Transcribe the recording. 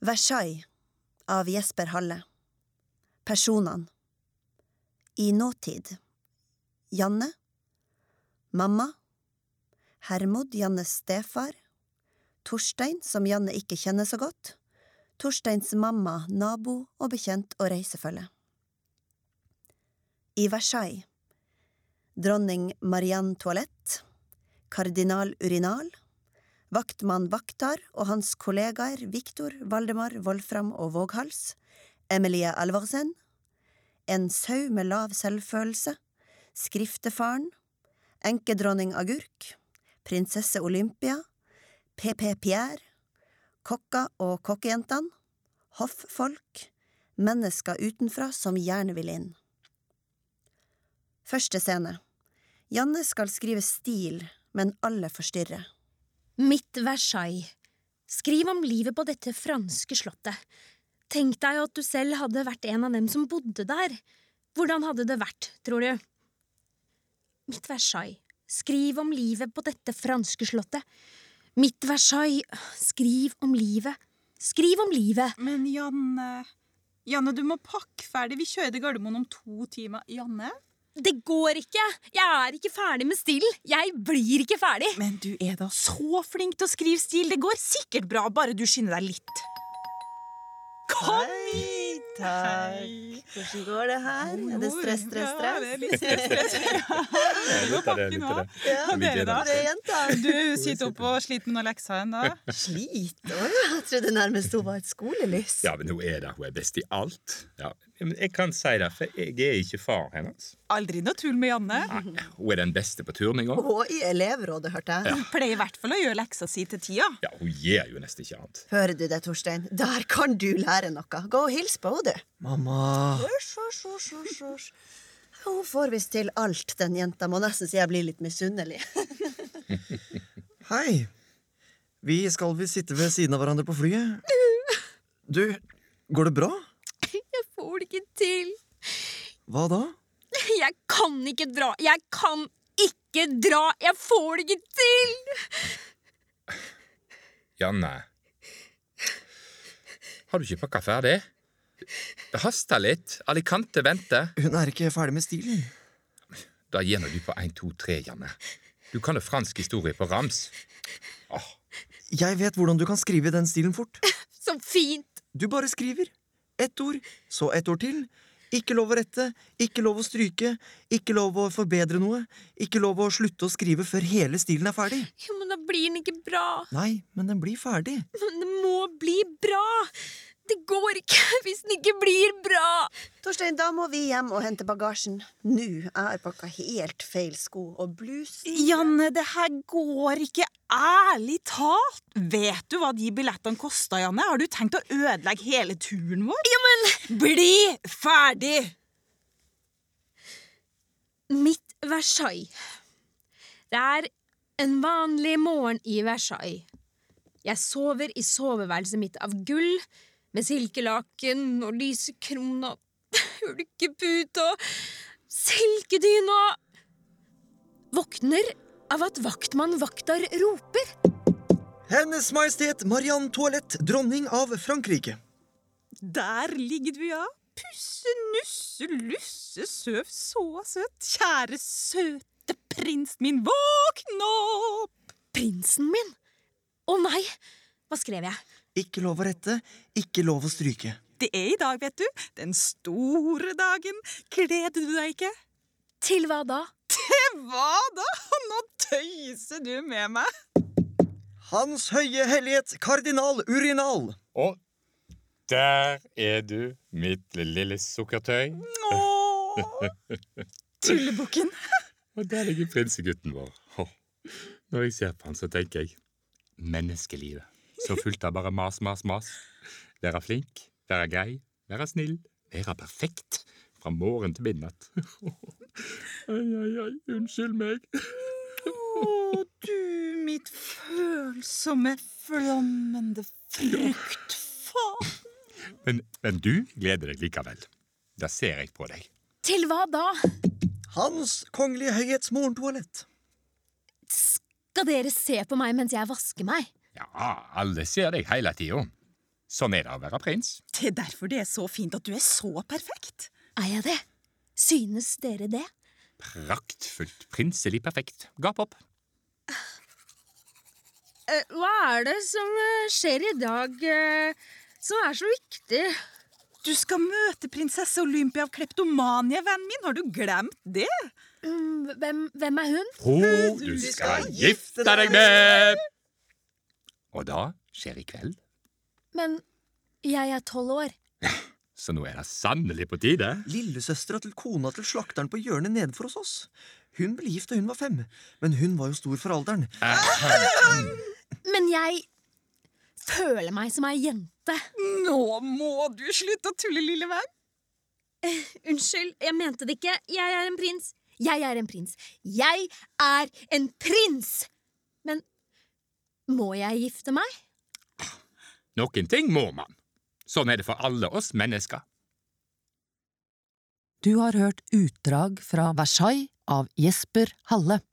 Versailles av Jesper Halle Personene I nåtid Janne Mamma Hermod, Jannes stefar Torstein, som Janne ikke kjenner så godt Torsteins mamma, nabo og bekjent og reisefølge I Versailles Dronning Marianne Toalett Kardinal Urinal Vaktmann Vaktar og hans kollegaer Viktor, Valdemar, Wolfram og Våghals, Emilie Alvorsen, En sau med lav selvfølelse, Skriftefaren, Enkedronning Agurk, Prinsesse Olympia, PP Pierre, Kokka og kokkejentene, Hoffolk, Mennesker utenfra som gjerne vil inn. Første scene Janne skal skrive stil, men alle forstyrrer. Mitt Versailles. Skriv om livet på dette franske slottet. Tenk deg at du selv hadde vært en av dem som bodde der. Hvordan hadde det vært, tror du? Mitt Versailles. Skriv om livet på dette franske slottet. Mitt Versailles. Skriv om livet. Skriv om livet. Men Janne Janne, du må pakke ferdig. Vi kjører til Gardermoen om to timer. Janne? Det går ikke! Jeg er ikke ferdig med stilen. Jeg blir ikke ferdig. Men du er da så flink til å skrive stil. Det går sikkert bra, bare du skynder deg litt. Kom hit! Hei. Hvordan går det her? Er det stress, stress, Ja, stress? det er litt stress, stress. Jeg må likte det, jeg pakke likte nå. det. Ja, Og dere, da? Tre jenter. Du sitter oppe og sliter med noen lekser ennå. Slit? Å ja, jeg trodde nærmest hun var et skolelys. Ja, men hun er det. Hun er best i alt. Ja, men jeg kan si det, for jeg er ikke far hennes. Aldri noe tull med Janne. Nei, hun er den beste på turning òg. Og i elevrådet, hørte jeg. Hun pleier i hvert fall å gjøre leksa si til tida. Ja, hun gjør jo nesten ikke annet. Hører du det, Torstein? Der kan du lære noe. Gå og hils på henne, du. Mamma Hysj, hysj, hysj, hysj, hysj. Hun får visst til alt, den jenta. Må nesten si jeg blir litt misunnelig. Hei Vi skal vi sitte ved siden av hverandre på flyet Du, går det bra? Jeg får det ikke til. Hva da? Jeg kan ikke dra. Jeg kan ikke dra. Jeg får det ikke til. Janne. Har du ikke pakka ferdig? Det haster litt. Alicante venter. Hun er ikke ferdig med stilen Da gir nå du på 1, 2, 3, Janne. Du kan jo fransk historie på rams. Åh, Jeg vet hvordan du kan skrive den stilen fort Så fint. Du bare skriver Ett ord, så ett ord til Ikke lov å rette, ikke lov å stryke Ikke lov å forbedre noe Ikke lov å slutte å skrive før hele stilen er ferdig Ja, men da blir den ikke bra. Nei, men den blir ferdig Men det må bli bra. Det går ikke hvis den ikke blir bra. Torstein, da må vi hjem og hente bagasjen. Nå. Jeg har pakka helt feil sko og bluse. Janne, det her går ikke. Ærlig talt! Vet du hva de billettene kosta, Janne? Har du tenkt å ødelegge hele turen vår? Ja, men Bli ferdig! Mitt Versailles. Det er en vanlig morgen i Versailles. Jeg sover i soveværelset mitt av gull, med silkelaken og lysekrone og hulkepute og silkedyne og Våkner av at vaktmann Vaktar roper. Hennes Majestet Marianne Toalett, dronning av Frankrike Der ligger du, ja. Pusse, nusse, lusse, søv, så søt. Kjære søte prins min, våkn opp! Prinsen min! Å nei! Hva skrev jeg? Ikke lov å rette, ikke lov å stryke. Det er i dag, vet du. Den store dagen. Gleder du deg ikke? Til hva da? Hva da? Nå tøyser du med meg. Hans høye hellighet kardinal Urinal. Og der er du, mitt lille sukkertøy. Åh. Tullebukken. Og der ligger prinsegutten vår. Åh, Når jeg ser på han, så tenker jeg menneskelivet. Så fullt av bare mas, mas, mas. Være flink, være grei, være snill, være perfekt. Fra morgen til midnatt. Ai, ai, ai, unnskyld meg. Å, du mitt følsomme, flammende fruktfat. Men, men du gleder deg likevel. Det ser jeg på deg. Til hva da? Hans kongelige høyhets morgentoalett. Skal dere se på meg mens jeg vasker meg? Ja, alle ser deg hele tida. Sånn er det å være prins. Det er derfor det er så fint at du er så perfekt. Er jeg det? Synes dere det? Praktfullt. Prinselig perfekt. Gap opp. Eh, hva er det som eh, skjer i dag eh, som er så viktig? Du skal møte prinsesse Olympia av Kleptomania, vennen min. Har du glemt det? Mm, Hvem, hvem er hun? Ho, du skal gifte deg med Og da skjer i kveld, Men jeg er tolv år. så nå er det sannelig på tide. Lillesøstera til kona til slakteren på hjørnet nedenfor hos oss. Hun ble gift da hun var fem, men hun var jo stor for alderen. Men jeg føler meg som ei jente. Nå må du slutte å tulle, lille venn. Unnskyld, jeg mente det ikke. Jeg er en prins. Jeg er en prins. Jeg er en prins! Men må jeg gifte meg? Noen ting må man. Sånn er det for alle oss mennesker. Du har hørt utdrag fra Versailles av Jesper Halle.